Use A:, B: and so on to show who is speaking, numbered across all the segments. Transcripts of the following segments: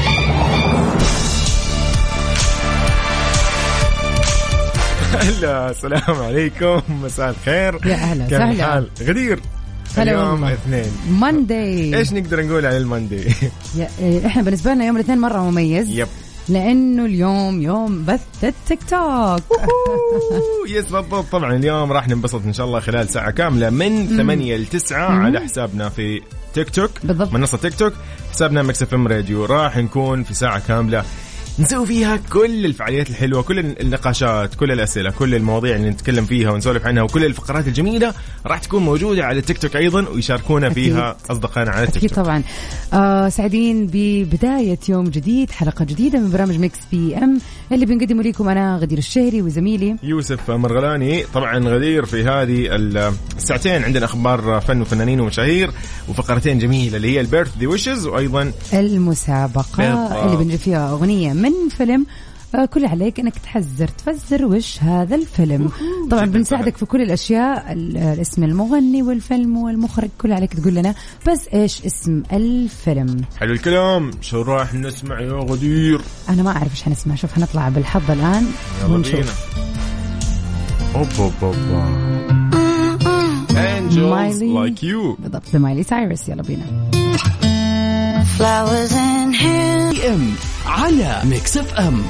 A: هلا السلام عليكم مساء الخير
B: يا أهلا
A: كيف
B: وسهلا.
A: الحال غدير
B: هلا
A: اليوم
B: والله.
A: اثنين
B: موندي
A: ايش نقدر نقول عن الماندي
B: احنا بالنسبه إيه، لنا يوم الاثنين مره مميز
A: يب
B: لانه اليوم يوم بث التيك توك
A: أوه، يس بالضبط طبعا اليوم راح ننبسط ان شاء الله خلال ساعه كامله من 8 ل 9 على حسابنا في تيك توك
B: بالضبط.
A: منصه تيك توك حسابنا مكس اف ام راديو راح نكون في ساعه كامله نسوي فيها كل الفعاليات الحلوه كل النقاشات كل الاسئله كل المواضيع اللي نتكلم فيها ونسولف عنها وكل الفقرات الجميله راح تكون موجوده على تيك توك ايضا ويشاركونا فيها اصدقائنا على تيك
B: اكيد
A: توك
B: طبعا آه سعيدين ببدايه يوم جديد حلقه جديده من برامج ميكس بي ام اللي بنقدمه لكم انا غدير الشهري وزميلي
A: يوسف مرغلاني طبعا غدير في هذه الساعتين عندنا اخبار فن وفنانين ومشاهير وفقرتين جميله اللي هي البيرث دي ويشز وايضا
B: المسابقه
A: بالضبط.
B: اللي بنجيب فيها اغنيه من فيلم آه، كل عليك انك تحزر تفزر وش هذا الفيلم طبعا
A: جداً
B: بنساعدك
A: سهل.
B: في كل الاشياء ال- آه، اسم المغني والفيلم والمخرج كل عليك تقول لنا بس ايش اسم الفيلم
A: حلو الكلام شو راح نسمع يا غدير
B: انا ما اعرف ايش حنسمع شوف حنطلع بالحظ الان
A: يلا بينا
B: ونشوف
A: اوبا بابا انجلز
B: مايلي.
A: لايك يو
B: بالضبط لمايلي سايرس يلا بينا
C: Flowers in hand.
D: بي ام على ميكس اف ام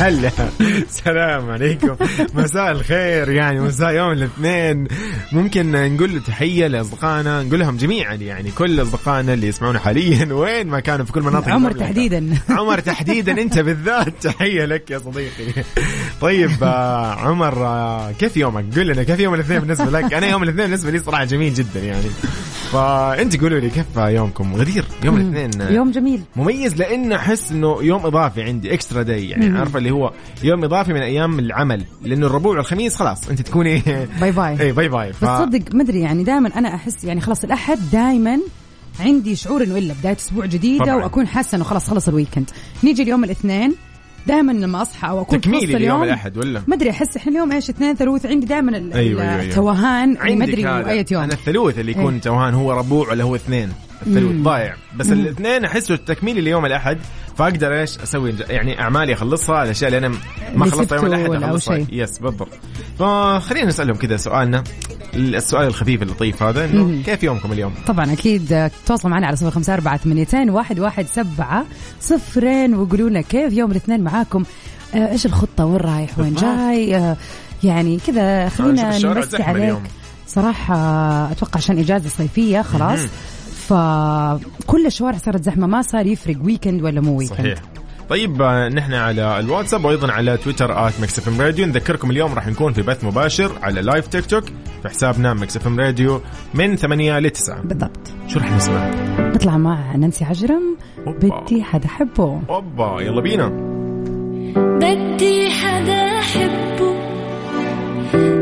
A: هلا سلام عليكم مساء الخير يعني مساء يوم الاثنين ممكن نقول له تحيه لاصدقائنا نقول لهم جميعا يعني كل اصدقائنا اللي يسمعونا حاليا وين ما كانوا في كل مناطق
B: عمر
A: المملكة.
B: تحديدا
A: عمر تحديدا انت بالذات تحيه لك يا صديقي طيب آه، عمر آه، كيف يومك قل لنا كيف يوم الاثنين بالنسبه لك انا يوم الاثنين بالنسبه لي صراحه جميل جدا يعني فانت قولوا لي كيف يومكم غدير يوم الاثنين آه،
B: يوم جميل
A: مميز لان احس انه يوم اضافي عندي اكسترا داي يعني عارفه اللي هو يوم اضافي من ايام العمل لانه الربوع والخميس خلاص انت تكوني إيه،
B: باي باي
A: اي باي باي ف...
B: بس صدق ما ادري يعني دائما انا احس يعني خلاص الاحد دائما عندي شعور انه الا بدايه اسبوع جديده
A: طبعاً.
B: طبعًا. واكون حاسه انه خلاص خلص الويكند نيجي اليوم الاثنين دائما لما اصحى او اكون
A: تكميلي
B: خلصت
A: ليوم
B: اليوم
A: الأحد ولا؟
B: ما ادري احس احنا اليوم ايش اثنين ثلاث عندي دائما ال-
A: أيوة، أيوة، أيوة.
B: التوهان أيوة ما
A: عندك
B: ادري
A: هذا.
B: اي يوم
A: انا الثلوث اللي يكون
B: إيه.
A: توهان هو ربوع ولا هو اثنين الثلوث ضايع بس الاثنين احسه التكميل ليوم الاحد فاقدر ايش اسوي الج- يعني اعمالي اخلصها الاشياء اللي انا ما
B: اللي
A: خلصتها يوم
B: سبته
A: الاحد
B: ولا أو
A: اخلصها
B: شيء.
A: يس بالضبط فخلينا نسالهم كذا سؤالنا السؤال الخفيف اللطيف هذا انه كيف يومكم اليوم؟
B: طبعا اكيد آه، تواصلوا معنا على صفر خمسة أربعة ثمانيتين واحد واحد سبعة صفرين وقولوا لنا كيف يوم الاثنين معاكم آه، ايش الخطة وين رايح وين جاي آه، يعني كذا
A: آه،
B: خلينا
A: نشوف الشوارع
B: نمسي
A: زحمة
B: عليك
A: اليوم.
B: صراحة آه، اتوقع عشان اجازة صيفية خلاص فكل الشوارع صارت زحمة ما صار يفرق ويكند ولا مو ويكند
A: صحيح طيب آه، نحن على الواتساب وايضا على تويتر ات ميكس اف ام راديو نذكركم اليوم راح نكون في بث مباشر على لايف تيك توك في حسابنا ميكس اف ام راديو من 8 ل 9
B: بالضبط
A: شو راح نسمع؟
B: نطلع مع نانسي عجرم
A: أوبا.
B: بدي حدا حبه
A: اوبا يلا بينا
E: بدي حدا احبه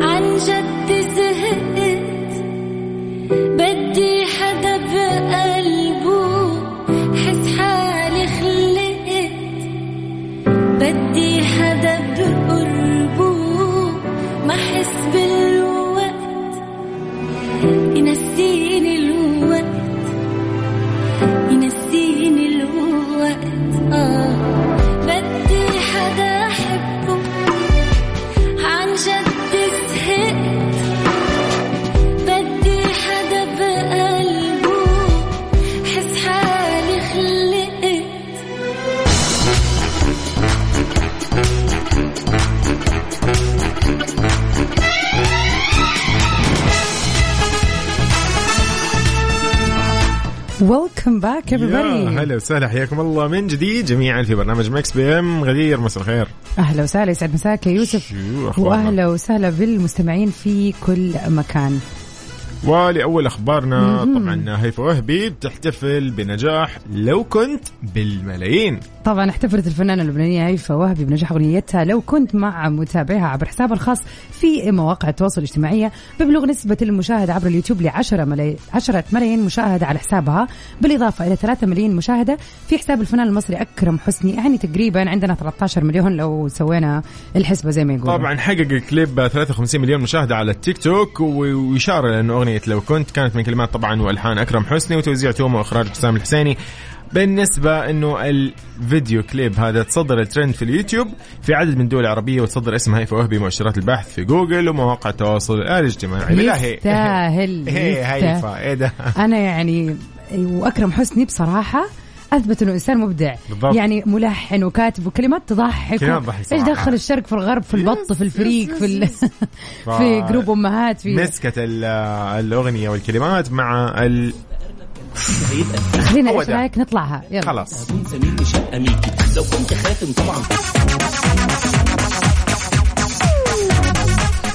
E: عن جد زهقت بدي حدا بقلبه حس حالي خلقت بدي حدا بقربه ما احس بالوقت ينسيني الوقت ينسيني الوقت آه بدي حدا أحبه عن جد زهقت بدي حدا بقلبه حس حالي خلقت
B: ويلكم باك
A: يا
B: everybody
A: هلا وسهلا حياكم الله من جديد جميعا في برنامج مكس بي ام غدير مساء الخير
B: اهلا وسهلا يسعد مساك يا يوسف
A: شو أخبارنا؟
B: واهلا وسهلا بالمستمعين في كل مكان
A: ولاول اخبارنا طبعا هيفا وهبي بتحتفل بنجاح لو كنت بالملايين
B: طبعا احتفلت الفنانة اللبنانية هيفا وهبي بنجاح أغنيتها لو كنت مع متابعيها عبر حسابها الخاص في مواقع التواصل الاجتماعي ببلوغ نسبة المشاهدة عبر اليوتيوب ل 10 ملايين 10 ملايين مشاهدة على حسابها بالإضافة إلى 3 ملايين مشاهدة في حساب الفنان المصري أكرم حسني يعني تقريبا عندنا 13 مليون لو سوينا الحسبة زي ما يقولوا
A: طبعا حقق الكليب 53 مليون مشاهده على التيك توك و- واشاره لانه اغنيه لو كنت كانت من كلمات طبعا والحان اكرم حسني وتوزيع توما واخراج حسام الحسيني بالنسبة انه الفيديو كليب هذا تصدر الترند في اليوتيوب في عدد من الدول العربية وتصدر اسم هيفا وهبي مؤشرات البحث في جوجل ومواقع التواصل الاجتماعي بالله
B: يستاهل،
A: ايه
B: يستاهل.
A: هيفا ايه ده
B: انا يعني واكرم حسني بصراحه اثبت انه انسان مبدع
A: بالضبط.
B: يعني ملحن وكاتب وكلمات تضحك
A: كلمات
B: و-
A: تضحك
B: ايش
A: صراحة.
B: دخل الشرق في الغرب في البط في الفريق في ال... في
A: ف-
B: جروب امهات في
A: مسكة ال- الاغنية والكلمات مع ال...
B: خلينا
A: هو
B: ايش
A: ده.
B: رايك نطلعها يلا
A: خلاص
D: كنت زميل لشقة ميكي لو كنت خاتم طبعا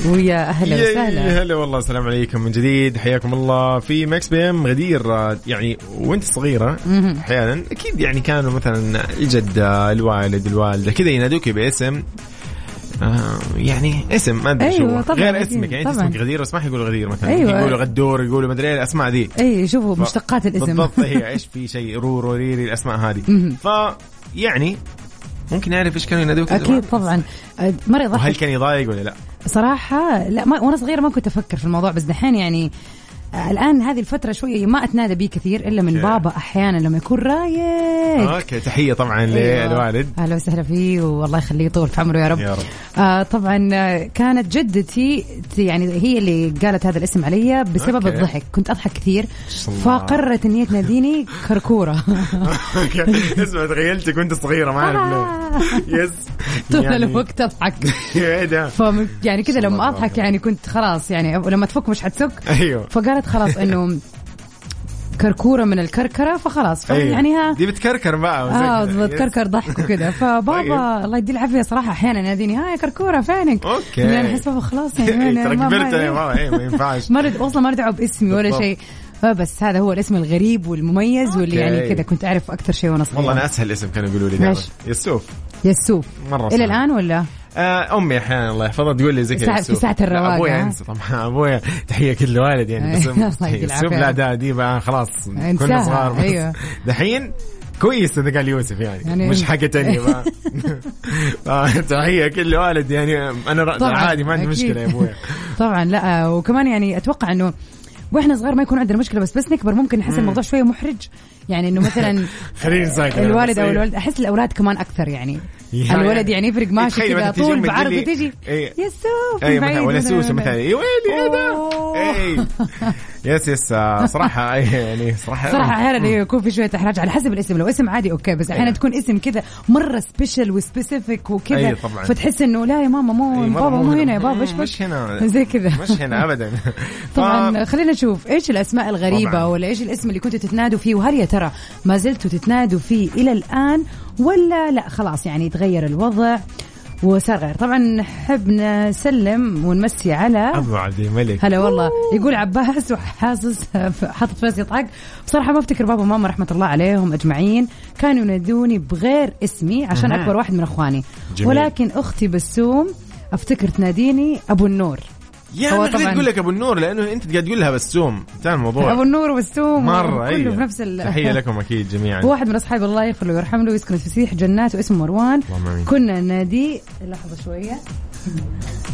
B: ويا اهلا
A: ياي،
B: وسهلا
A: هلا والله السلام عليكم من جديد حياكم الله في ماكس بي ام غدير آه، يعني وانت صغيره احيانا اكيد يعني كانوا مثلا الجده الوالد الوالده كذا ينادوك باسم آه يعني اسم ما ادري
B: أيوة،
A: شو هو.
B: طبعا،
A: غير
B: أكيد،
A: اسمك يعني انت
B: طبعا.
A: اسمك غدير بس ما حيقولوا غدير مثلا
B: أيوة.
A: يقولوا غدور يقولوا مدري ايه الاسماء ذي
B: اي إيه، شوفوا مشتقات الاسم
A: بالضبط هي ايش في شيء رورو ريري الاسماء هذه ف يعني ممكن اعرف ايش كانوا ينادوك زمان.
B: اكيد طبعا أه، مره
A: وهل
B: يضحك
A: كان يضايق ولا لا؟
B: صراحة لا ما وانا صغيرة ما كنت افكر في الموضوع بس دحين يعني آه، الان هذه الفترة شوية ما اتنادى بيه كثير الا من
A: أوكي.
B: بابا احيانا لما يكون رايق
A: اوكي تحيه طبعا
B: أيوة.
A: للوالد
B: اهلا وسهلا فيه والله يخليه يطول في عمره يا رب,
A: يا رب.
B: آه طبعا آه، كانت جدتي ت- يعني هي اللي قالت هذا الاسم علي بسبب
A: أوكي.
B: الضحك كنت اضحك كثير
A: الله.
B: فقررت ان هي تناديني كركوره
A: اسمع تخيلتك وانت صغيره ما اعرف ليه يس
B: طول
A: يعني-
B: الوقت اضحك
A: ايه ده
B: فم يعني كذا
A: الله
B: لما اضحك يعني كنت خلاص يعني لما تفك مش حتسك
A: ايوه
B: فقالت خلاص انه كركوره من الكركره فخلاص
A: أيوة.
B: فيعني طيب، يعني ها
A: دي بتكركر بقى
B: اه
A: وزي كده. يس.
B: بتكركر ضحك وكذا فبابا
A: طيب.
B: الله يدي العافيه صراحه احيانا يناديني هاي كركوره فينك؟
A: أوكي.
B: يعني احس بابا خلاص يعني
A: إيه،
B: أنا
A: ترى
B: ما- ما-
A: كبرت يا ماما ايه ما ينفعش
B: ما رد اصلا ما ردعوا باسمي ولا
A: بالضبط.
B: شيء فبس هذا هو الاسم الغريب والمميز واللي يعني
A: أوكي.
B: كذا كنت اعرف اكثر شيء وانا صغيره
A: والله انا اسهل اسم كانوا يقولوا لي دائما
B: ماشي.
A: يسوف
B: يسوف
A: مرة
B: الى
A: سهل.
B: الان ولا؟
A: آه امي احيانا الله يحفظها تقول لي زي كذا
B: في ساعة-
A: يسوف.
B: في ساعة
A: لا،
B: الرواق،
A: ابويا
B: ها؟
A: انسى طبعا ابويا تحيه كل والد يعني بس
B: إيه، الله
A: مستحيل.
B: يدي العافية.
A: يوسف لا ده دي بقى خلاص كنا
B: انساها،
A: صغار بس.
B: أيوة.
A: دحين كويس انه قال يوسف يعني,
B: يعني-
A: يعني مش حاجه تانية بقى آه، تحيه كل والد يعني انا رأ-
B: طبعاً،
A: عادي ما عندي
B: أكيد.
A: مشكله يا ابويا
B: طبعا لا وكمان يعني اتوقع انه واحنا صغار ما يكون عندنا مشكله بس بس نكبر ممكن نحس الموضوع شويه محرج يعني انه مثلا
A: خليني ساكت أنا
B: الوالد
A: بس. إيه.
B: او الولد احس الاولاد كمان اكثر يعني
A: يا-
B: الولد يعني يفرق ماشي
A: تخيل
B: كذا
A: مثلاً تيجي
B: طول
A: أمك تقول
B: بعرض
A: لي-
B: تجي
A: إيه.
B: يسوف من
A: اي مثلا
B: بعيد
A: ولا
B: مثلاً.
A: سوسه مثلا يا ويلي ايه ده؟
B: أوه.
A: اي يس يس آه، صراحه أي، يعني صراحه
B: صراحة احيانا إيه يكون في شوية احراج على حسب الاسم لو اسم عادي اوكي بس احيانا
A: أيوة.
B: تكون اسم كذا مرة سبيشل وسبيسيفيك وكذا
A: أيوة طبعاً.
B: فتحس انه لا يا ماما مو
A: أي، إيه، مرة
B: بابا مو هنا يا بابا ايش
A: مم،
B: بك؟
A: مش هنا
B: زي كذا
A: مش هنا ابدا
B: طبعا
A: ف-
B: خلينا نشوف ايش الاسماء الغريبه
A: طبعاً.
B: ولا ايش الاسم اللي كنتوا تتنادوا فيه وهل يا ترى ما زلتوا تتنادوا فيه الى الان ولا لا خلاص يعني تغير الوضع وصار غير طبعا نحب نسلم ونمسي على
A: ابو عبد الملك
B: هلا والله يقول عباس وحاسس حاطط فيس يضحك بصراحه ما افتكر بابا وماما رحمه الله عليهم اجمعين كانوا ينادوني بغير اسمي عشان اكبر واحد من اخواني
A: جميل.
B: ولكن اختي بسوم افتكر تناديني ابو النور
A: يا
B: هو
A: انا خليت
B: طبعاً-
A: اقول لك ابو النور لانه انت قاعد تقول لها بسوم انتهى الموضوع
B: ابو النور والسوم
A: مره
B: كله
A: أيوة.
B: في نفس ال...
A: تحيه لكم اكيد جميعا
B: واحد من اصحاب الله يغفر له ويرحم له ويسكن في فسيح جنات واسمه مروان
A: اللهم آمين.
B: كنا نادي لحظه شويه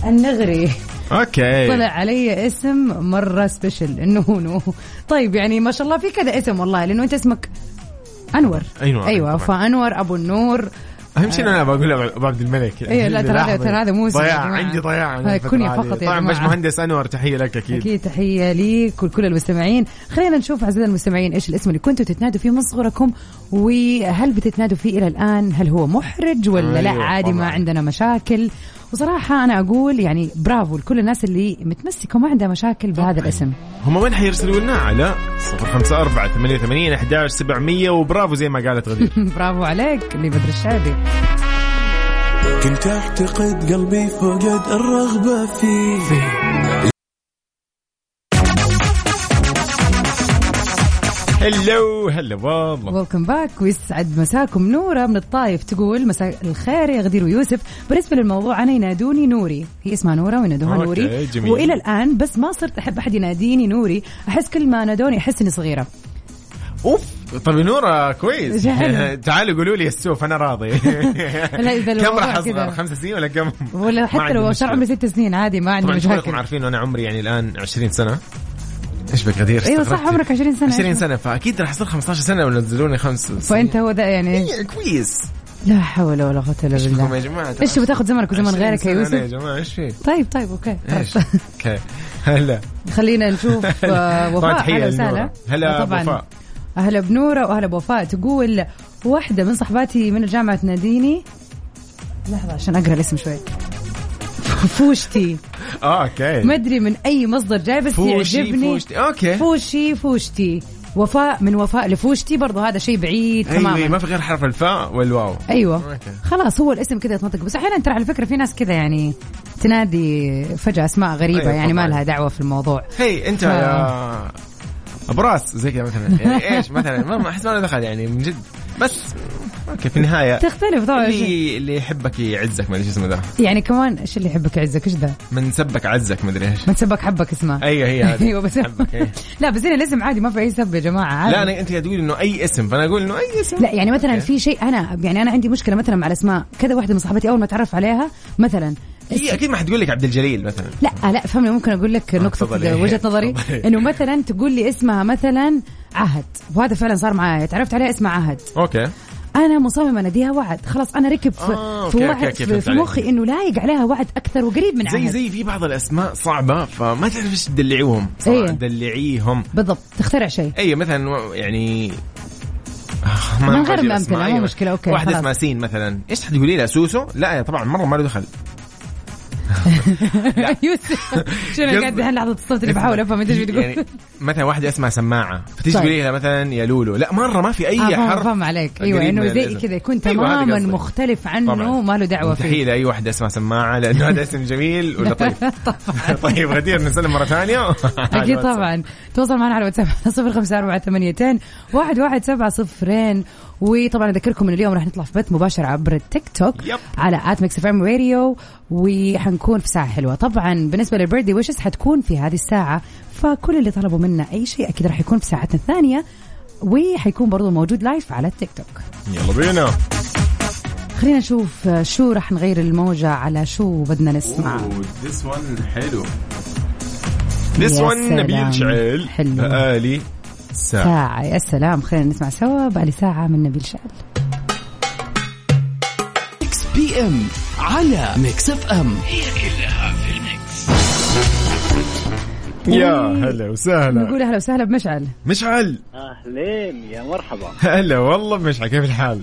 B: النغري
A: اوكي
B: طلع علي اسم مره سبيشل انه نونو طيب يعني ما شاء الله في كذا اسم والله لانه انت اسمك انور
A: أيوة،
B: ايوه
A: طبعاً.
B: فانور ابو النور
A: اهم شيء إن انا بقول ابو عبد الملك
B: إيه، لا، ترى هذا- ترى هذا مو اسم يا
A: ضياع
B: جماعة.
A: عندي ضياع أنا
B: هاي
A: الفترة
B: كنية
A: هذه.
B: فقط يا
A: طبعا
B: جماعة.
A: باشمهندس انور تحيه لك اكيد
B: اكيد تحيه ليك ولكل المستمعين خلينا نشوف اعزائي المستمعين ايش الاسم اللي كنتوا تتنادوا فيه من صغركم وهل بتتنادوا فيه الى الان هل هو محرج ولا لا
A: أيوة،
B: عادي ما
A: طبعاً.
B: عندنا مشاكل وصراحه انا اقول يعني برافو لكل الناس اللي متمسكه وما عندها مشاكل بهذا الاسم
A: هم وين حيرسلوا لنا على 05 4 88 11 700 وبرافو زي ما قالت غدير
B: برافو عليك اللي بدر الشعبي
C: كنت اعتقد قلبي فقد الرغبة فيه
A: هلو هلا والله
B: ويلكم باك ويسعد مساكم نوره من الطايف تقول مساء الخير يا غدير ويوسف بالنسبه للموضوع انا ينادوني نوري هي اسمها نوره وينادوها
A: أوكي،
B: نوري
A: جميل.
B: والى الان بس ما صرت احب احد يناديني نوري احس كل ما نادوني احس اني صغيره
A: اوف طيب نورة كويس
B: جهل.
A: تعالوا قولوا لي السوف انا راضي
B: إذا
A: كم راح
B: الموضوع كذا.
A: اصغر خمس سنين ولا كم؟
B: ولا
A: ما
B: حتى
A: عندي
B: لو يعني صار
A: مشكلة.
B: عمري ست سنين عادي ما عندي
A: طبعا كلكم
B: مشاكل
A: عارفين انه انا عمري يعني الان 20 سنه ايش بك غدير
B: ايوه صح
A: استغربتي.
B: عمرك 20 سنه
A: 20 سنه فاكيد راح اصير 15 سنه ونزلوني خمس سنين
B: فانت هو ده يعني
A: إيه، كويس
B: لا حول ولا قوه الا
A: ايش بكم يا
B: بالله
A: جماعه
B: ايش بتاخذ زمنك وزمن
A: 20
B: غيرك يا
A: سنة أنا إيه. يا
B: يوسف
A: جماعه ايش في؟
B: طيب طيب اوكي
A: ايش؟ اوكي هلا
B: خلينا نشوف آه،
A: طبعاً
B: وفاء
A: تحية
B: اهلا
A: لنورة.
B: وسهلا
A: هلا
B: طبعاً.
A: وفاء.
B: اهلا بنوره واهلا بوفاء تقول واحده من صحباتي من الجامعه تناديني لحظه عشان اقرا الاسم شوي فوشتي
A: اه اوكي
B: ما ادري من اي مصدر جاي بس
A: فوشي،
B: يعجبني
A: فوشتي. أوكي.
B: فوشي فوشتي وفاء من وفاء لفوشتي برضو هذا شيء بعيد
A: ايوه
B: تماما
A: ما في غير حرف الفاء والواو
B: ايوه
A: أوكي.
B: خلاص هو الاسم كذا يتنطق بس احيانا ترى على فكره في ناس كذا يعني تنادي فجاه اسماء غريبه
A: أيوة
B: يعني ما
A: طبعاً.
B: لها دعوه في الموضوع
A: هي انت يا ابراس زي كذا مثلا يعني ايش مثلا ما ما احس ما له دخل يعني من جد بس اوكي في النهايه
B: تختلف طبعا
A: اللي اللي يحبك يعزك ما ادري ايش اسمه ذا
B: يعني كمان ايش اللي يحبك يعزك ايش ذا؟
A: من سبك عزك ما ادري ايش
B: ما تسبك حبك اسمه
A: ايوه هي هذه.
B: ايوه بس
A: حبك، إيه.
B: لا بس هنا الاسم عادي ما في اي سب يا جماعه عادي
A: لا انا انت تقول انه اي اسم فانا اقول انه اي اسم
B: لا يعني مثلا في شيء انا يعني انا عندي مشكله مثلا مع الاسماء كذا واحده من صاحبتي اول ما اتعرف عليها مثلا
A: هي اكيد ما حتقول لك عبد الجليل مثلا
B: لا لا فهمني ممكن اقول لك
A: آه، تفضلي.
B: نقطه وجهه نظري
A: تفضلي.
B: انه مثلا تقول لي اسمها مثلا عهد وهذا فعلا صار معايا تعرفت عليها اسمها عهد
A: اوكي
B: انا مصممه اناديها وعد خلاص انا ركب في,
A: آه،
B: في
A: أوكي،
B: وعد
A: أوكي، أوكي،
B: في,
A: فهمت
B: في
A: عليك.
B: مخي انه لايق عليها وعد اكثر وقريب من
A: زي
B: عهد
A: زي في بعض الاسماء صعبه فما تعرف ايش تدلعوهم
B: أيوة.
A: صراحه تدلعيهم
B: بالضبط تخترع شيء
A: اي مثلا و- يعني آه،
B: من
A: أبغى
B: غير
A: أجيب
B: ما
A: أسماء.
B: أمثلة، مو
A: أيوة.
B: مشكلة، أوكي،
A: واحد
B: خلاص.
A: اسمها سين مثلا ايش حتقولي لها سوسو لا طبعا مره ما له دخل
B: يوسف أيوة. شنو أنا قاعد الحين لحظه الصوت اللي بحاول افهم انت ايش بتقول
A: يعني مثلا واحده اسمها سماعه فتيجي
B: طيب.
A: تقولي لها مثلا يا لولو لا مره ما في اي
B: آه، فاهم-
A: حرف
B: فاهم عليك ايوه
A: قريب
B: انه
A: من
B: زي
A: الاسم.
B: كذا يكون
A: أيوة، هذا
B: تماما
A: قصدي.
B: مختلف عنه
A: طبعاً.
B: ما له دعوه فيه
A: مستحيل اي واحده اسمها سماعه لانه هذا اسم جميل ولطيف طيب غدير نسلم أيوة، مره ثانيه
B: اكيد طبعا تواصل معنا على الواتساب صفر خمسة أربعة ثمانية واحد واحد سبعة صفرين وطبعا اذكركم ان اليوم راح نطلع في بث مباشر عبر التيك توك
A: يب.
B: على ات ميكس اف ام راديو وحنكون في ساعه حلوه طبعا بالنسبه للبيردي ويشز حتكون في هذه الساعه فكل اللي طلبوا منا اي شيء اكيد راح يكون في ساعتنا الثانيه وحيكون برضو موجود لايف على التيك توك
A: يلا بينا
B: خلينا نشوف شو راح نغير الموجة على شو بدنا نسمع
A: ذس ون حلو ذس
B: يا
A: ون
B: سلام.
A: نبيل شعيل
B: حلو.
A: بقالي ساعه
B: ساعة يا سلام خلينا نسمع سوا بقى لي ساعة من نبيل شال
D: ميكس بي ام على ميكس اف ام
A: يا هلا وسهلا
B: نقول أهلا وسهلا بمشعل
A: مشعل
F: اهلين يا مرحبا
A: هلا والله مشعل كيف الحال؟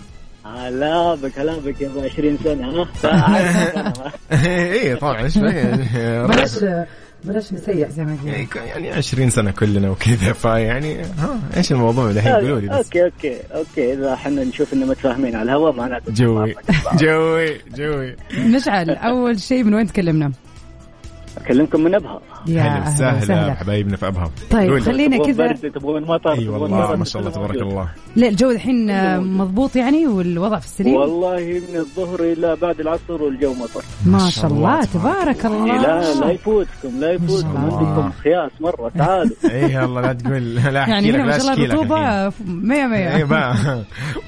F: هلا بك هلا بك يا ابو 20 سنه ها فأعرفك
A: ايه طبعا ايش بك؟
B: بلاش بلاش نسيع زي ما قلت
A: يعني 20 سنه كلنا وكذا فيعني ها ايش الموضوع الحين قولوا لي
F: أنا.
A: بس
F: اوكي اوكي اوكي اذا احنا نشوف اننا متفاهمين على الهواء معناته
A: جوي جوي جوي
B: مشعل أول شيء من وين تكلمنا؟
F: اكلمكم من ابها
B: يا
A: هلا
B: أهلا
A: وسهلا
B: وسهلا
A: حبايبنا في ابها
B: طيب
A: قولي.
B: خلينا
F: تبغون
B: كذا
F: برد تبغون مطر
A: اي
F: تبغون
A: أيوة والله
F: برد،
A: ما شاء الله
F: تبغون
A: تبارك
F: موجود.
A: الله
B: لا الجو الحين مضبوط يعني والوضع في السليم
F: والله من الظهر الى بعد العصر والجو مطر
B: ما شاء الله تبارك
F: لا لا
B: الله
F: يفوتكم لا يفوتكم
A: الله.
F: عندكم خياس مره تعالوا
A: اي والله لا تقول لا احكي
B: يعني
A: لك
B: هنا ما
A: لا
B: شاء الله
A: اشكي لك الحين.
B: الرطوبة مية
A: اي
B: مية
A: بقى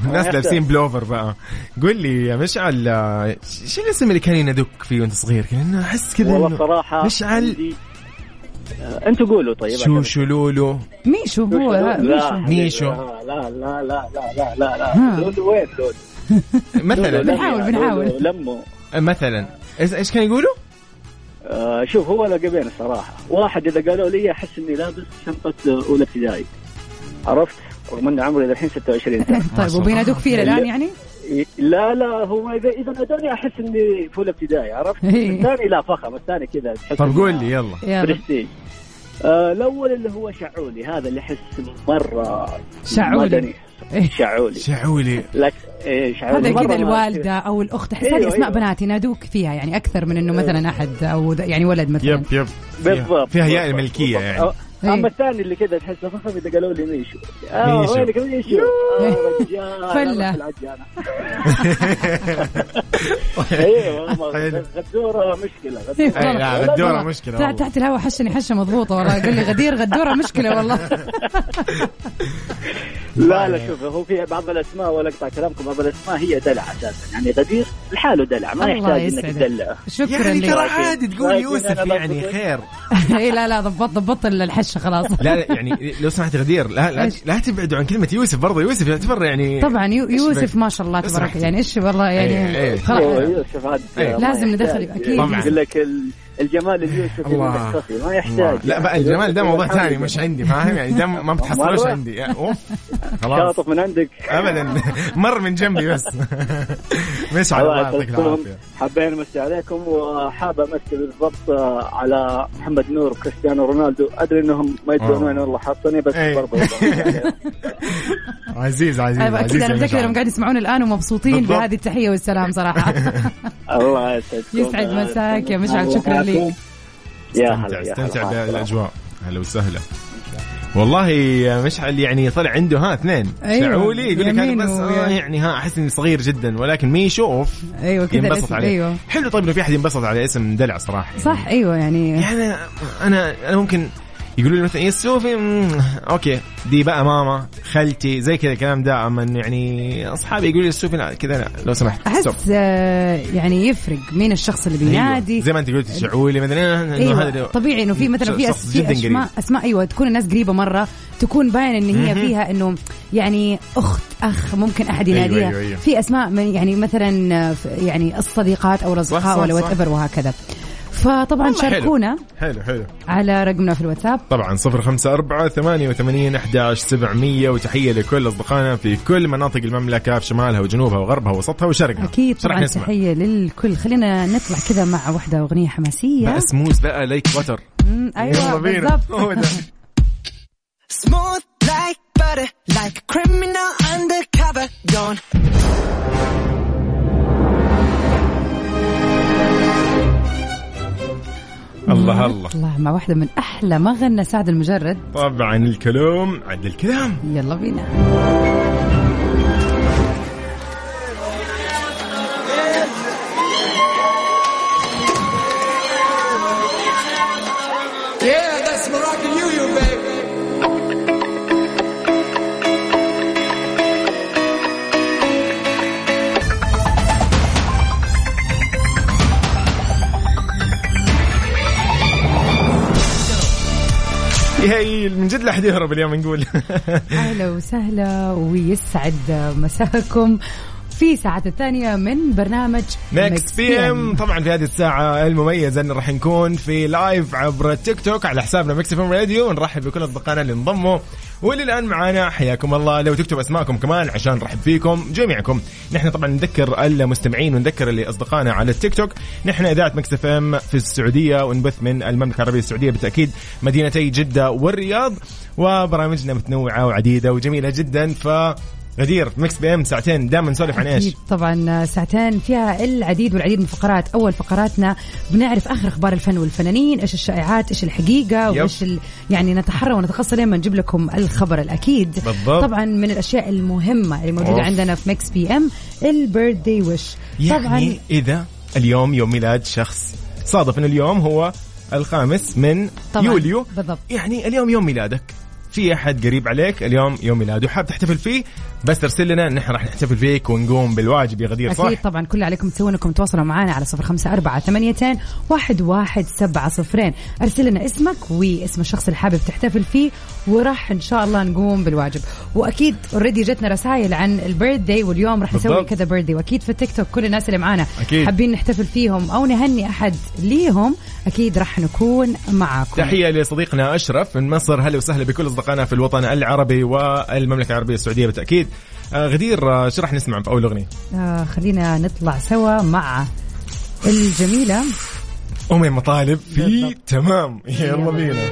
A: والناس لابسين بلوفر بقى قول لي يا مشعل آه، شو الاسم اللي كان ينادوك فيه وانت صغير؟ كان احس كذا
F: والله
A: إنه
F: صراحه
A: مشعل
F: عندي- آه، انتوا قولوا طيب
A: شو شلولو
B: ميشو هو ها،
F: لا
B: ميشو
A: ميشو.
F: لا لا لا لا لا لا
B: ها.
F: لا لولو وين لولو
A: مثلا
B: بنحاول، بنحاول.
F: لولو لمه
A: مثلا إيش- ايش كان يقولوا؟
F: آه شوف هو لقبين الصراحه واحد اذا قالوا لي احس اني لابس شنطه آه، اولى ابتدائي عرفت رغم ان عمري الحين 26 سنه
A: ما
B: طيب
A: شاء
B: وبينادوك فيه الآن يعني؟
F: لا لا هو اذا اذا نادوني احس اني في اولى ابتدائي عرفت
B: إيه.
F: الثاني لا فخم الثاني كذا تحس
A: طب
F: إنه
A: قول لي يلا
B: يلا
F: برستيج آه الاول اللي هو شعولي هذا اللي احس مره
B: شعولي.
F: مدني.
B: إيه.
F: شعولي
A: شعولي
F: لك إيه شعولي
B: هذا
F: مرة
B: كذا
F: ما-
B: الوالده او الاخت احس
F: أيوة،
B: هذه اسماء
F: أيوة.
B: بنات ينادوك فيها يعني اكثر من انه مثلا احد او ذا- يعني ولد مثلا
A: يب يب
F: بالضبط
A: فيها ياء
F: بالضبط،
A: الملكية
F: بالضبط.
A: يعني.
F: أو-
B: إيه.
F: اما الثاني اللي كذا تحسه فخم اذا قالوا لي ميشو
A: ميشو.
F: اه وينك ميشو آه، رجال،
B: فلة.
F: أنا في العجانة. ايوه والله.
A: حلو.
F: غدوره مشكله
B: إيه،
A: إيه،
F: غدوره
A: لا،
B: والله.
A: غدورة
B: والله.
A: مشكلة
B: طلعت
A: والله.
B: تحت الهواء حشني حشه مضبوطه والله قال لي غدير غدوره مشكله والله
F: لا لا شوف هو في بعض الاسماء ولا اقطع كلامكم بعض الاسماء هي دلع اساسا يعني غدير لحاله دلع ما
B: الله
F: يحتاج انك
B: يسعدك
F: تدلعه
B: شكرا
A: يعني ترى
B: لك
A: عادي تقول
F: لكن
A: يوسف
F: أنا
A: يعني
F: بقول-
A: خير
B: اي لا لا ضبط ضبط الحشه خلاص
A: لا لا، يعني لو سمحت غدير لا لا,
B: إيش؟
A: لا تبعدوا عن كلمة يوسف برضه يوسف يعتبر يعني
B: طبعا يو-
A: إيش
B: يوسف
A: بك؟
B: ما شاء الله
A: بس
B: تبارك
A: رحت.
B: يعني ايش والله
A: إيه، إيه.
B: يعني
F: هو
B: خلاص
F: يوسف هذا
A: إيه.
F: ما
B: لازم
F: يحتاج.
B: ندخل أكيد.
A: طبعاً.
F: يقول لك ال- الجمال اليوسف
A: الله.
F: المختفي ما
A: الله.
F: يحتاج
A: لا بقى الجمال ده موضوع ثاني مش عندي فاهم يعني ده ما بتحصلوش
F: مرة.
A: عندي يعني اوف خلاص
F: شاطف من عندك
A: ابدا مر من جنبي بس مش على الله
F: الله
A: يعطيك
F: يسعدكم
A: العافيه
F: حابين امسي عليكم وحاب امسي بالضبط على محمد نور وكريستيانو رونالدو ادري انهم ما يدرون
A: آه.
F: وين والله حاطني بس
A: إيه.
F: برضه يبغى عليهم.
A: عزيز عزيز عزيز
B: اكيد انا
A: يا
B: متاكد
A: مشعل.
B: انهم قاعد يسمعون الان ومبسوطين
A: بالضبط.
B: بهذه التحيه والسلام صراحه
F: الله يسعدكم
B: يسعد مساك يا مشعل، شكراً لك.
A: استمتع
F: يا هلا يا هلا.
A: استمتع
F: مع السلامة.
A: بالاجواء هلا وسهلا والله يا مشعل يعني طلع عنده ها اثنين
B: أيوة.
A: شعولي يقول لك
B: يمين
A: انا بس آه
B: ويا-
A: يعني ها احس اني صغير جدا ولكن ميشو اوف
B: ايوه كذا
A: ينبسط
B: الاسم،
A: عليه
B: ايوه
A: حلو طيب انه في احد ينبسط على اسم دلع صراحه
B: صح ايوه يعني
A: يعني انا انا, أنا ممكن يقولوا لي مثلا يا سوفي مم، اوكي دي بقى ماما خالتي زي كذا الكلام ده اما إنه يعني اصحابي يقولوا لي سوفي لا كذا لا لو سمحت ستوب.
B: احس آه، يعني يفرق مين الشخص اللي
A: أيوة.
B: بينادي
A: زي ما إيه، انت قلت شعولي مثلا إنه
B: ايوه
A: هذا-
B: طبيعي انه في مثلا في
A: شخص
B: أس- في
A: جداً
B: اسماء
A: قريب.
B: اسماء ايوه تكون الناس قريبه مره تكون باين ان هي
A: مهم.
B: فيها انه يعني اخت اخ ممكن احد يناديها
A: أيوة، أيوة، أيوة.
B: في اسماء من يعني مثلا آه، ف- يعني الصديقات او
A: صح،
B: الاصدقاء
A: صح،
B: ولا وات
A: صح.
B: ايفر وهكذا فطبعا
A: والله حلو.
B: شاركونا
A: حلو حلو
B: على رقمنا في الواتساب
A: طبعا صفر خمسة أربعة ثمانية وثمانين أحداش سبعمية وتحية لكل أصدقائنا في كل مناطق المملكة في شمالها وجنوبها وغربها ووسطها وشرقها
B: اكيد
A: شو رح
B: طبعا
A: نسمع؟
B: تحيه للكل خلينا نطلع كذا مع واحده اغنيه حماسيه
A: بقى سموز بقى ليك وتر
B: مم، ايوه بالضبط
A: هو ده.
G: Smooth like butter, like a criminal undercover. Don't
A: الله الله
B: نطلع مع واحده من احلى ما غنى سعد المجرد
A: طبعا الكلام عد الكلام
B: يلا بينا
A: هي من جد لا حد يهرب اليوم نقول
B: اهلا وسهلا ويسعد مساكم في ساعة الثانية من برنامج
A: ميكس بي ام طبعا في هذه الساعة المميزة ان راح نكون في لايف عبر التيك توك على حسابنا ميكس بي ام راديو نرحب بكل اصدقائنا اللي انضموا واللي الان معانا حياكم الله لو تكتب اسماءكم كمان عشان نرحب فيكم جميعكم نحن طبعا نذكر المستمعين ونذكر اللي اصدقائنا على التيك توك نحن اذاعة ميكس اف ام في السعودية ونبث من المملكة العربية السعودية بالتاكيد مدينتي جدة والرياض وبرامجنا متنوعة وعديدة وجميلة جدا ف غدير ميكس بي ام ساعتين دائما نسولف عن ايش؟
B: أكيد طبعا ساعتين فيها العديد والعديد من الفقرات اول فقراتنا بنعرف اخر اخبار الفن والفنانين ايش الشائعات ايش الحقيقه
A: يب.
B: وايش ال... يعني نتحرى ونتخصص لين ما نجيب لكم الخبر الاكيد
A: بالضبط.
B: طبعا من الاشياء المهمه اللي موجوده
A: أوف.
B: عندنا في ميكس بي ام البيرث داي ويش
A: يعني
B: طبعا
A: اذا اليوم يوم ميلاد شخص صادف ان اليوم هو الخامس من
B: طبعاً،
A: يوليو
B: بالضبط.
A: يعني اليوم يوم ميلادك في احد قريب عليك اليوم يوم ميلاده حاب تحتفل فيه بس ترسل لنا نحن راح نحتفل فيك ونقوم بالواجب يا غدير صح
B: أكيد طبعا كل اللي عليكم تسوون انكم تواصلوا معنا على صفر خمسة أربعة ثمانيتين واحد واحد سبعة صفرين أرسل لنا اسمك واسم الشخص اللي حابب تحتفل فيه وراح إن شاء الله نقوم بالواجب وأكيد اوريدي جتنا رسائل عن البيرث داي واليوم راح نسوي
A: بالضبط.
B: كذا بيرث داي وأكيد في التيك توك كل الناس اللي معانا
A: أكيد.
B: حابين نحتفل فيهم أو نهني أحد ليهم أكيد راح نكون معاكم
A: تحية لصديقنا أشرف من مصر هلا وسهلا بكل أصدقائنا في الوطن العربي والمملكة العربية السعودية بالتأكيد آه، غدير آه، شو راح نسمع في أول أغنية
B: آه خلينا نطلع سوا مع الجميلة
A: أمي مطالب في
B: بالضبط.
A: تمام يلا
B: يلا.
A: بينا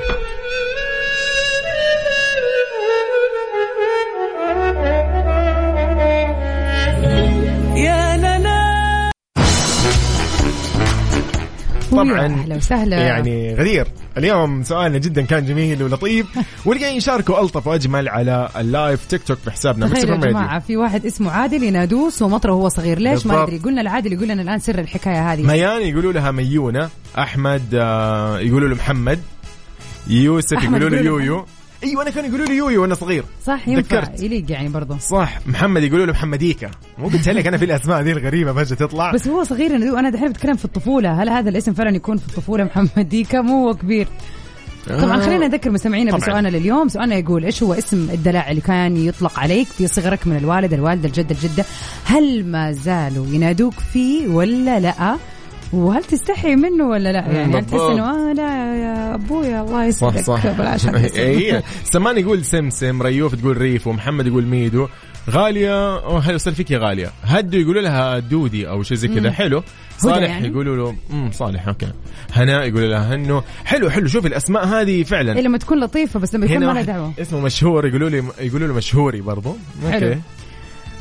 B: ويا
A: طبعا
B: أهلا وسهلا.
A: يعني غدير اليوم سؤالنا جدا كان جميل ولطيف واللي قاعدين يشاركوا الطف واجمل على اللايف تيك توك في حسابنا مكس
B: تخيلوا طيب يا
A: اف ام
B: جماعة
A: راديو
B: في واحد اسمه عادل ينادوه سمطره وهو صغير ليش ما
A: بالضبط.
B: ندري قلنا العادل يقول لنا الآن سر الحكاية هذه
A: ميان يقولوا لها ميونه احمد آه، يقولوا له محمد يوسف
B: أحمد
A: يقولوا له
B: يقولوا له
A: يويو ايوه انا كانوا يقولوا لي يويو وانا صغير
B: صح ينفع
A: ذكرت.
B: يليق يعني برضه
A: صح محمد يقولوا له محمديكا مو قلت لك انا في الاسماء ذي الغريبه فجاه تطلع
B: بس هو صغير ينادوه انا دحين بتكلم في الطفوله هل هذا الاسم فعلا يكون في الطفوله محمد ديكا مو هو كبير طبعا خلينا نذكر مستمعينا
A: آه، طبعاً.
B: بسؤالنا لليوم سؤالنا يقول ايش هو اسم الدلع اللي كان يطلق عليك في صغرك من الوالد الوالده الجده الجده هل ما زالوا ينادوك فيه ولا لا وهل تستحي منه ولا لا يعني هل تحس
A: بالضبط.
B: انه آه لا يا ابويا الله
A: صح
B: يسعدك
A: صح إيه.
B: بلاش هالاسم.
A: اي سمان يقول سمسم ريوف تقول ريف ومحمد يقول ميدو غالية أو هلا وسهلا فيك يا غالية هدو يقولوا لها دودي أو شيء زي كذا حلو صالح
B: يعني؟
A: يقولوا له امم صالح أوكي هناء يقولوا لها هنو حلو حلو شوف الأسماء هذه فعلا
B: إيه لما تكون لطيفه بس لما يكون ما لها
A: واحد
B: دعوه
A: اسمه مشهور يقولوا لي يقولوا له مشهوري برضو
B: حلو.
A: أوكي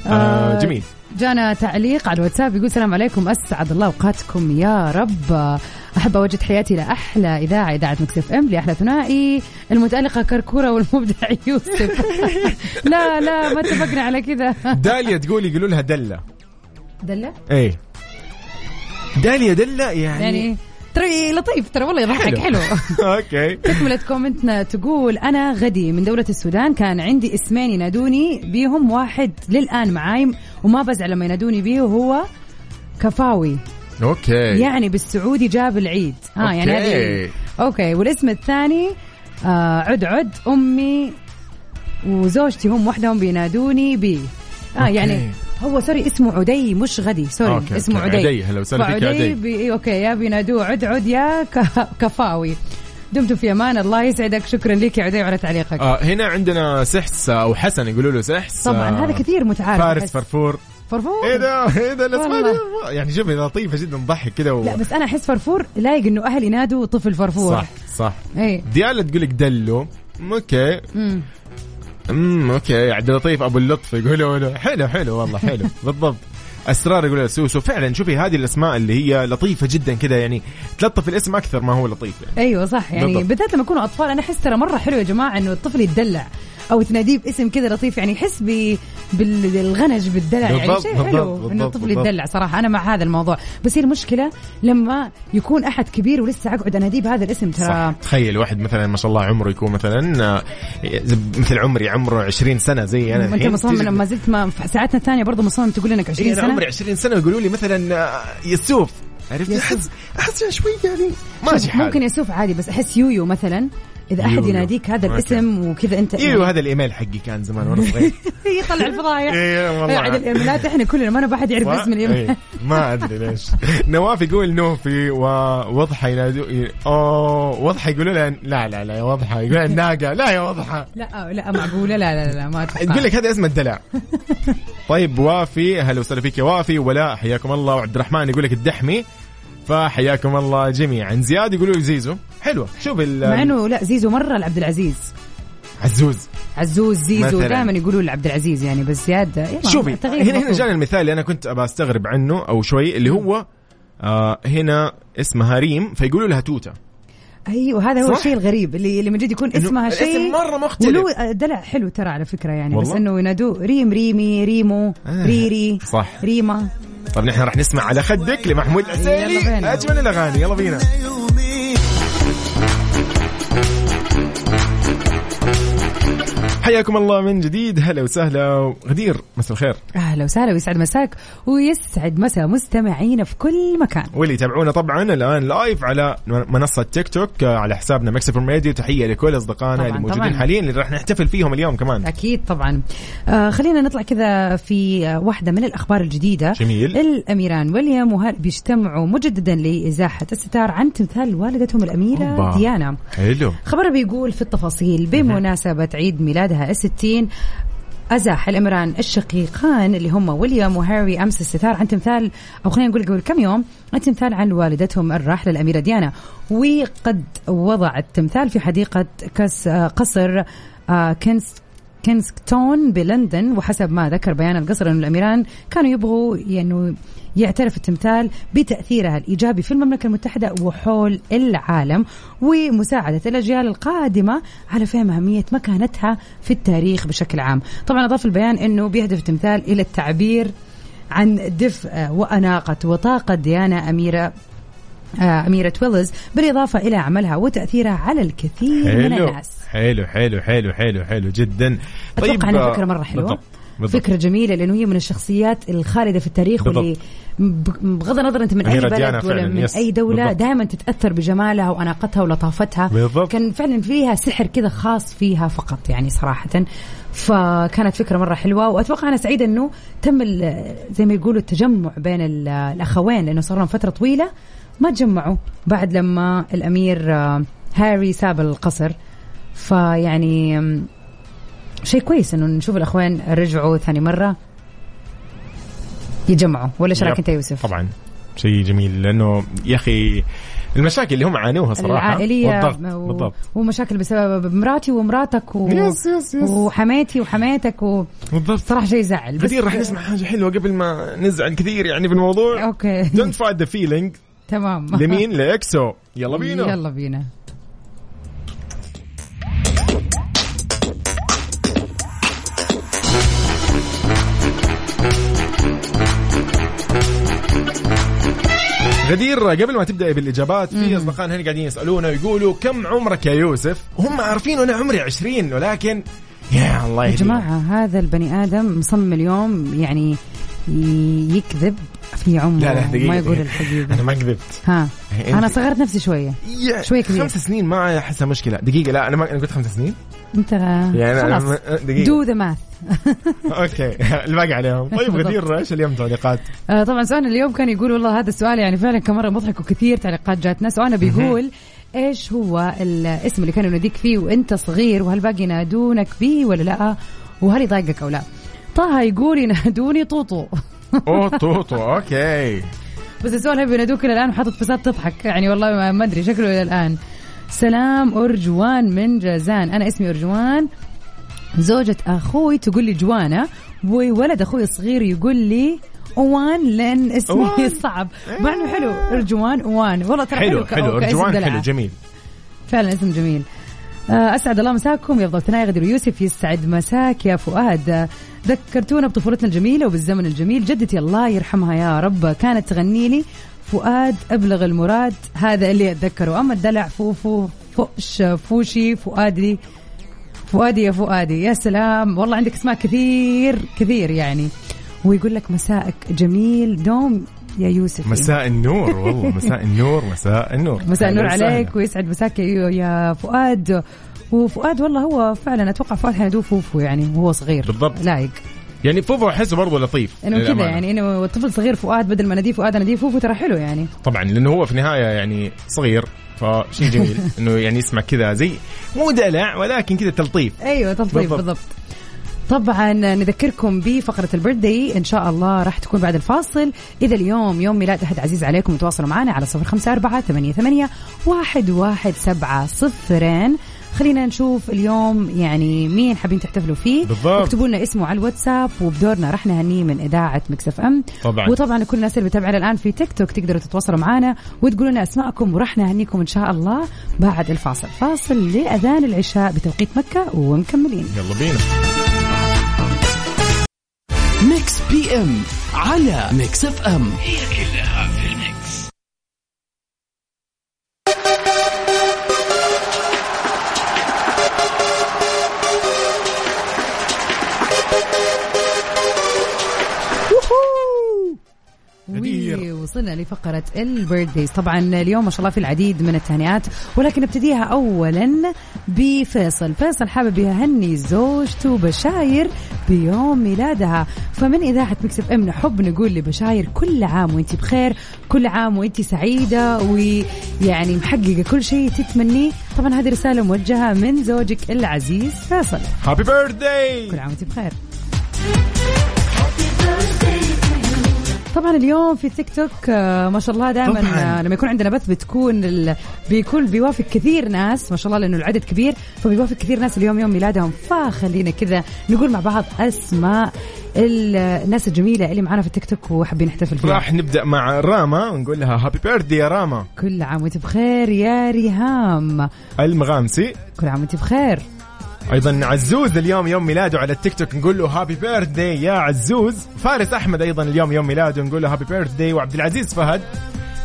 A: آه جميل
B: جانا تعليق على الواتساب يقول السلام عليكم اسعد الله اوقاتكم يا رب احب اوجه حياتي لاحلى اذاعه اذاعه مكسف ام لاحلى ثنائي المتالقه كركوره والمبدع يوسف لا لا ما اتفقنا على كذا
A: داليا تقول يقولوا لها دلة
B: دله
A: اي داليا دلة يعني,
B: يعني ترى لطيف ترى والله يضحك حلو,
A: اوكي
B: تكملة كومنتنا تقول أنا غدي من دولة السودان كان عندي اسمين ينادوني بيهم واحد للآن معاي وما بزعل لما ينادوني بيه وهو كفاوي
A: اوكي
B: يعني بالسعودي جاب العيد ها
A: إيه. أوكي.
B: يعني هذه اوكي والاسم الثاني آه عد عد امي وزوجتي هم وحدهم بينادوني بي اه
A: أوكي.
B: يعني هو سوري اسمه عدي مش غدي سوري
A: أوكي،
B: اسمه
A: أوكي.
B: عدي
A: عدي، هلا وسهلا فيك يا
B: فعدي
A: عدي.
B: بي إيه، اوكي يا بينادوه عد عد يا ك- كفاوي دمتم في امان الله يسعدك شكرا لك يا عدي على تعليقك
A: آه هنا عندنا سحس او حسن يقولوا له سحس
B: طبعا
A: آه،
B: هذا كثير متعارف
A: فارس
B: أحس.
A: فرفور
B: فرفور
A: ايه ده ايه ده الاسماء
B: والله.
A: دي يعني شوف لطيفه جدا ضحك كده و...
B: لا بس انا احس فرفور لايق انه اهلي نادوا طفل فرفور
A: صح صح
B: ايه
A: ديالا تقول لك دلو أم، اوكي
B: مم.
A: امم اوكي عبد اللطيف ابو اللطف يقولوا له حلو حلو والله حلو بالضبط اسرار يقول له سوسو فعلا شوفي هذه الاسماء اللي هي لطيفه جدا كذا يعني تلطف الاسم اكثر ما هو لطيف يعني
B: ايوه صح يعني
A: بالضبط.
B: بالذات لما يكونوا اطفال انا احس ترى مره حلو يا جماعه انه الطفل يتدلع او تناديه باسم كذا لطيف يعني يحس ب- بال- بالغنج بالدلع يعني
A: بالضبط،
B: شيء
A: بالضبط،
B: حلو انه
A: بالضبط،
B: الطفل
A: بالضبط.
B: يتدلع صراحه انا مع هذا الموضوع بس هي المشكله لما يكون احد كبير ولسه اقعد اناديه بهذا الاسم
A: صح
B: ترى
A: تخيل واحد مثلا ما شاء الله عمره يكون مثلا آه، مثل عمري عمره 20 سنه زي انا
B: انت
A: الحين.
B: مصمم
A: يعني تجي-
B: لما زلت ما في ساعتنا الثانيه برضه مصمم تقول انك 20
A: إيه أنا
B: سنه
A: عمري 20 سنه يقولوا لي مثلا آه، يسوف عرفت
B: يسوف.
A: احس احس شوي يعني ماشي حالي
B: ممكن يسوف عادي بس احس يويو مثلا اذا احد
A: يويو.
B: يناديك هذا
A: أوكي.
B: الاسم وكذا انت
A: ايوه هذا الايميل حقي كان زمان وانا صغير
B: يطلع الفضايح
A: إيه، والله.
B: قاعد الايميلات احنا كلنا ما نبغى احد يعرف
A: و-
B: اسم الايميل
A: إيه، ما ادري ليش نواف يقول نوفي ووضحه ينادو ي- اوه وضحه يقولوا لها لا لا لا يا وضحه يقول لها الناقه لا يا وضحه
B: لا لا معقوله لا لا لا, لا ما أتوقع.
A: يقول لك هذا اسم الدلع طيب وافي هلا وسهلا فيك يا وافي ولاء حياكم الله وعبد الرحمن يقول لك الدحمي فحياكم الله جميعا زياد يقولوا لي زيزو حلوه شوف
B: مع
A: ال-
B: انه لا زيزو مره لعبد العزيز
A: عزوز
B: عزوز زيزو
A: مثلاً.
B: دائما يقولوا لعبد العزيز يعني بس زياد يلا،
A: شوفي
B: تغيير
A: هنا هنا
B: مطلوب.
A: جاني المثال اللي انا كنت ابى استغرب عنه او شوي اللي هو آه هنا اسمها ريم فيقولوا لها توته
B: ايوه هذا هو
A: صح؟
B: الشيء الغريب اللي اللي من جد يكون
A: إنه
B: اسمها
A: الاسم
B: شيء
A: مرة مختلف.
B: ولو دلع حلو ترى على فكره يعني بس
A: والله.
B: انه ينادوه ريم ريمي ريمو
A: آه،
B: ريري
A: صح.
B: ريما
A: طب طيب، نحن راح نسمع على خدك لمحمود
B: يلا
A: العسيلي
B: بينا.
A: اجمل الاغاني يلا بينا حياكم الله من جديد هلا وسهلا غدير مساء الخير
B: اهلا وسهلا آه، ويسعد مساك ويسعد مسا مستمعينا في كل مكان
A: واللي يتابعونا طبعا الان لايف على منصه تيك توك آه، على حسابنا مكسفر راديو تحيه لكل اصدقائنا
B: طبعاً،
A: اللي موجودين
B: طبعاً.
A: حاليا اللي راح نحتفل فيهم اليوم كمان
B: اكيد طبعا آه خلينا نطلع كذا في آه، واحده من الاخبار الجديده
A: جميل.
B: الاميران ويليام وهاري بيجتمعوا مجددا لازاحه الستار عن تمثال والدتهم الاميره
A: أوبا.
B: ديانا
A: حلو
B: خبر بيقول في التفاصيل بمناسبة عيد ميلادها الستين أزاح الأمران الشقيقان اللي هم ويليام وهاري أمس الستار عن تمثال أو خلينا نقول قبل كم يوم عن تمثال عن والدتهم الراحلة الأميرة ديانا وقد وضعت تمثال في حديقة كس آه، قصر آه، كنس كينغستون بلندن وحسب ما ذكر بيان القصر أن الأميران كانوا يبغوا يعني يعترف التمثال بتأثيرها الإيجابي في المملكة المتحدة وحول العالم ومساعدة الأجيال القادمة على فهم أهمية مكانتها في التاريخ بشكل عام طبعا أضاف البيان أنه بيهدف التمثال إلى التعبير عن دفء وأناقة وطاقة ديانا أميرة آه، أميرة ويلز بالإضافة إلى عملها وتأثيرها على الكثير من
A: حلو
B: الناس
A: حلو حلو حلو حلو حلو جدا
B: اتوقع انها
A: آه،
B: فكره مره حلوه
A: بالضبط بالضبط
B: فكره جميله لانه هي من الشخصيات الخالده في التاريخ
A: بالضبط.
B: واللي ب- بغض النظر انت من
A: هي
B: اي
A: رجعنا
B: بلد ولا
A: فعلاً،
B: من
A: يس.
B: اي دوله
A: بالضبط.
B: دائما تتاثر بجمالها واناقتها ولطافتها
A: بالضبط.
B: كان فعلا فيها سحر كذا خاص فيها فقط يعني صراحه فكانت فكره مره حلوه واتوقع انا سعيده انه تم ال- زي ما يقولوا التجمع بين ال- الاخوين لانه صار لهم فتره طويله ما تجمعوا بعد لما الامير آه، هاري ساب القصر فيعني آم، شيء كويس انه نشوف الاخوين رجعوا ثاني مره يتجمعوا ولا ايش رايك
A: يب.
B: انت يا يوسف؟
A: طبعا شيء جميل لانه يا اخي المشاكل اللي هم عانوها صراحه
B: العائليه
A: بالضبط
B: و-
A: بالضبط
B: ومشاكل بسبب مراتي ومراتك و...
A: يس- يس- يس.
B: وحماتي وحماتك و...
A: بالضبط
B: صراحه شيء يزعل بس
A: كثير راح نسمع حاجه حلوه قبل ما نزعل كثير يعني بالموضوع
B: اوكي
A: دونت فايت ذا فيلينج
B: تمام
A: لمين لاكسو يلا بينا
B: يلا بينا
A: غدير قبل ما تبداي بالاجابات في اصدقائنا هنا قاعدين يسالونا ويقولوا كم عمرك يا يوسف؟ هم عارفين انا عمري 20 ولكن يا الله
B: يا
A: يهديه.
B: جماعه هذا البني ادم مصمم اليوم يعني ي- يكذب في عمره
A: لا لا دقيقة
B: ما يقول
A: دقيقة. إيه، انا
B: الحقيقه
A: ما كذبت
B: ها
A: أنت-
B: انا صغرت نفسي شويه
A: يا
B: شوي كبير.
A: خمس سنين ما احسها مشكله دقيقه لا انا ما انا قلت خمس سنين
B: انت
A: يعني أنا-
B: خلاص
A: دقيقة.
B: دو ذا ماث
A: اوكي الباقي عليهم طيب
B: بالضبط.
A: غدير ايش اليوم تعليقات؟
B: آه، طبعا سؤالنا اليوم كان يقول والله هذا السؤال يعني فعلا كان مره مضحك وكثير تعليقات جاتنا سؤالنا بيقول ايش هو الاسم اللي كانوا يناديك فيه وانت صغير وهل باقي ينادونك به ولا لا وهل يضايقك او لا طه يقول ينادوني طوطو
A: اوه طوطو اوكي
B: بس السؤال هل بينادوك الى الان وحاطط فساد تضحك يعني والله ما- ما ادري شكله الى الان سلام ارجوان من جازان انا اسمي ارجوان زوجة اخوي تقول لي جوانا وولد اخوي الصغير يقول لي اوان لان اسمي
A: أوان. إيه.
B: صعب مع انه حلو ارجوان اوان والله ترى
A: حلو
B: ك-
A: حلو
B: كاسم
A: ارجوان
B: دلع.
A: حلو جميل
B: فعلا اسم جميل آه، اسعد الله مساكم يا ضبطنا يا غدير يوسف يسعد مساك يا فؤاد آه، ذكرتونا بطفولتنا الجميله وبالزمن الجميل جدتي الله يرحمها يا رب كانت تغني لي فؤاد ابلغ المراد هذا اللي اتذكره اما الدلع فوفو فوش فوشي فؤادي فؤادي يا فؤادي يا سلام والله عندك اسماء كثير كثير يعني ويقول لك مساءك جميل دوم يا يوسف
A: مساء النور والله مساء النور مساء النور
B: مساء النور
A: أهلا وسهلا.
B: عليك ويسعد مساك يا- يا فؤاد وفؤاد والله هو فعلا اتوقع فؤاد كان يدوب فوفو يعني وهو صغير
A: بالضبط.
B: لايق
A: يعني فوفو احسه برضه لطيف
B: انه كذا
A: للأمانة.
B: يعني انه طفل صغير فؤاد بدل ما نديه فؤاد نديه فوفو ترى حلو يعني
A: طبعا لانه هو في النهايه يعني صغير فشيء جميل انه يعني يسمع كذا زي مو دلع ولكن كذا تلطيف
B: ايوه تلطيف
A: بالضبط.
B: بالضبط, بالضبط. طبعا نذكركم بفقرة البردي إن شاء الله راح تكون بعد الفاصل إذا اليوم يوم ميلاد أحد عزيز عليكم تواصلوا معنا على صفر خمسة أربعة ثمانية, ثمانية واحد, واحد سبعة صفرين خلينا نشوف اليوم يعني مين حابين تحتفلوا فيه
A: بالضبط.
B: اكتبوا لنا اسمه على الواتساب وبدورنا راح نهنيه من إذاعة مكسف أم
A: طبعاً.
B: وطبعا كل الناس اللي بتابعنا الآن في تيك توك تقدروا تتواصلوا معنا وتقولوا لنا أسماءكم وراح نهنيكم إن شاء الله بعد الفاصل فاصل لأذان العشاء بتوقيت مكة ومكملين
A: يلا بينا
D: ميكس بي ام على ميكس اف ام
A: غدير.
B: وي، وصلنا لفقرة البيرثديز طبعا اليوم ما شاء الله في العديد من التهنئات ولكن نبتديها أولا بفيصل فيصل حابب يهني زوجته بشاير بيوم ميلادها فمن إذاعة مكسف أم نحب نقول لبشاير كل عام وانت بخير كل عام وانت سعيدة ويعني محققة كل شيء تتمنيه طبعا هذه رسالة موجهة من زوجك العزيز فيصل
A: هابي بيرثداي
B: كل عام وانت بخير طبعا اليوم في تيك توك آه، ما شاء الله دائما
A: طبعاً.
B: آه، لما يكون عندنا بث بتكون ال... بيكون بيوافق كثير ناس ما شاء الله لانه العدد كبير فبيوافق كثير ناس اليوم يوم ميلادهم فخلينا كذا نقول مع بعض اسماء ال- الناس الجميله اللي معانا في التيك توك وحابين نحتفل فيها
A: راح نبدا مع راما ونقول لها هابي بيرثدي يا راما
B: كل عام وانت بخير يا ريهام
A: المغامسي
B: كل عام وانت بخير
A: ايضا عزوز اليوم يوم ميلاده على التيك توك نقول له هابي بيرثدي يا عزوز فارس احمد ايضا اليوم يوم ميلاده نقول له هابي بيرثدي وعبد العزيز فهد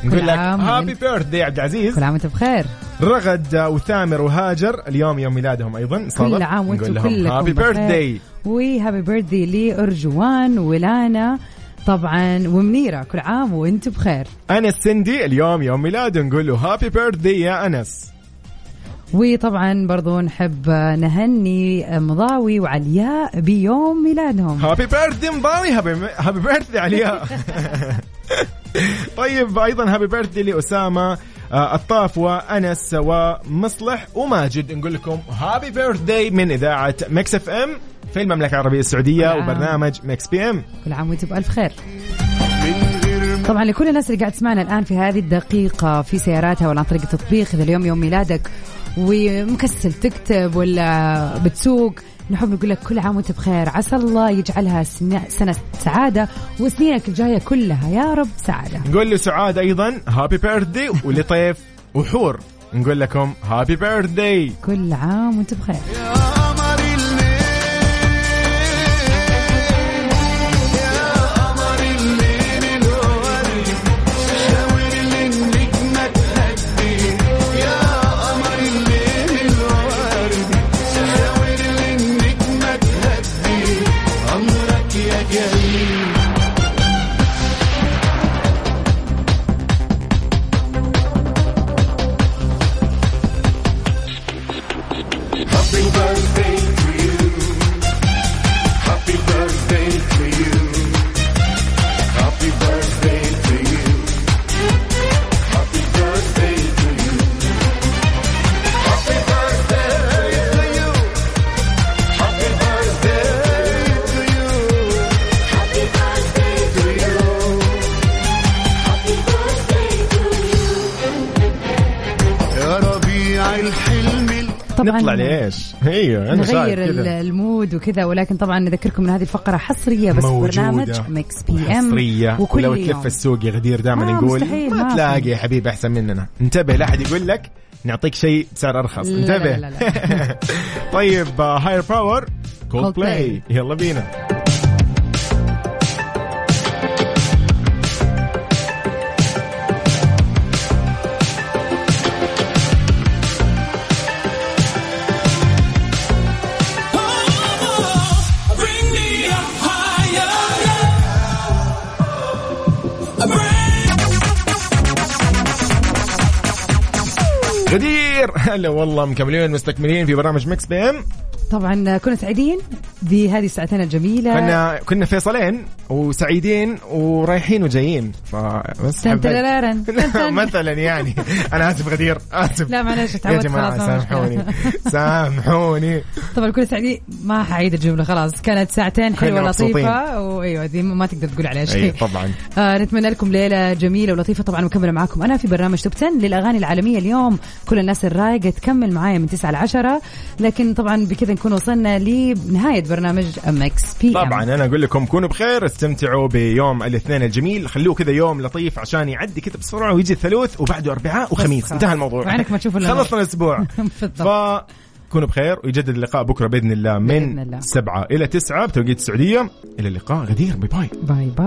B: كل
A: نقول لك
B: عام
A: هابي
B: وانت-
A: بيرثدي يا عبد العزيز
B: كل عام وانت بخير
A: رغد وثامر وهاجر اليوم يوم ميلادهم ايضا صادق
B: كل عام
A: نقول
B: وانتم
A: لهم
B: كلكم
A: هابي بيرثدي
B: وهابي بيرثدي لارجوان ولانا طبعا ومنيره كل عام وانتم بخير
A: انس سندي اليوم يوم ميلاده نقول له هابي بيرثدي يا انس
B: وطبعا برضو نحب نهني مضاوي وعلياء بيوم ميلادهم
A: هابي بيرثدي مضاوي هابي هابي بيرثدي علياء طيب ايضا هابي بيرثدي لاسامه آه، الطاف وانس ومصلح وماجد نقول لكم هابي بيرثدي من اذاعه مكس اف ام في المملكه العربيه السعوديه
B: نعم.
A: وبرنامج مكس بي ام
B: كل عام وانتم بألف خير طبعا لكل الناس اللي قاعد تسمعنا الان في هذه الدقيقة في سياراتها ولا عن طريق التطبيق إذا اليوم يوم ميلادك ومكسل تكتب ولا بتسوق نحب نقول لك كل عام وانت بخير عسى الله يجعلها سن- سنة سعادة وسنينك الجاية كلها يا رب سعادة
A: نقول لسعاد ايضا هابي بيرثدي ولطيف وحور نقول لكم هابي بيرثدي
B: كل عام وانت بخير
C: يا ربيع الحلم
B: طبعا
A: نطلع ليش ايوه انا شايف
B: نغير ال-
A: كذا
B: المود وكذا ولكن طبعا نذكركم ان هذه الفقره حصريه بس في
A: موجودة.
B: برنامج ميكس بي ام
A: حصرية
B: وكل
A: ولو
B: يوم.
A: تلف السوق يا غدير دائما
B: ما
A: نقول
B: مستحيل، ما
A: ما
B: في.
A: تلاقي يا حبيبي احسن مننا انتبه لا احد يقول لك نعطيك شيء بسعر ارخص
B: لا، لا،
A: انتبه
B: لا،
A: طيب هاير باور كولد
B: Coldplay.
A: بلاي يلا بينا غدير هلا والله مكملين مستكملين في برامج مكس بي ام
B: طبعا كنا سعيدين بهذه الساعتين الجميله
A: كنا كنا فيصلين وسعيدين ورايحين وجايين فبس
B: تن
A: حبيت-
B: ترارن. تن تن.
A: مثلا يعني انا اسف غدير اسف
B: لا، معلش،
A: يا
B: تعودت
A: جماعه
B: خلاص، ما مشكلة.
A: سامحوني سامحوني
B: طبعا كنا سعيدين ما حعيد الجمله خلاص كانت ساعتين حلوه
A: كنا مبسوطين. أيوة،
B: لطيفه وايوه دي ما تقدر تقول عليها شيء
A: اي طبعا
B: آه نتمنى لكم ليلة جميلة ولطيفة طبعا مكملة معاكم أنا في برنامج توب 10 للأغاني العالمية اليوم كل الناس الرايقة تكمل معايا من 9 ل 10 لكن طبعا بكذا نكون وصلنا لنهاية برنامج مكس بي
A: طبعا انا اقول لكم كونوا بخير استمتعوا بيوم الاثنين الجميل خلوه كذا يوم لطيف عشان يعدي كذا بسرعه ويجي الثلاث وبعده اربعاء وخميس
B: خلاص.
A: انتهى الموضوع
B: وعينك ما تشوف إلا النور.
A: خلصنا الاسبوع ف
B: بالضبط.
A: كونوا بخير ويجدد اللقاء بكره باذن الله من
B: بإذن الله.
A: سبعة الى تسعة بتوقيت السعوديه الى اللقاء غدير باي باي
B: باي باي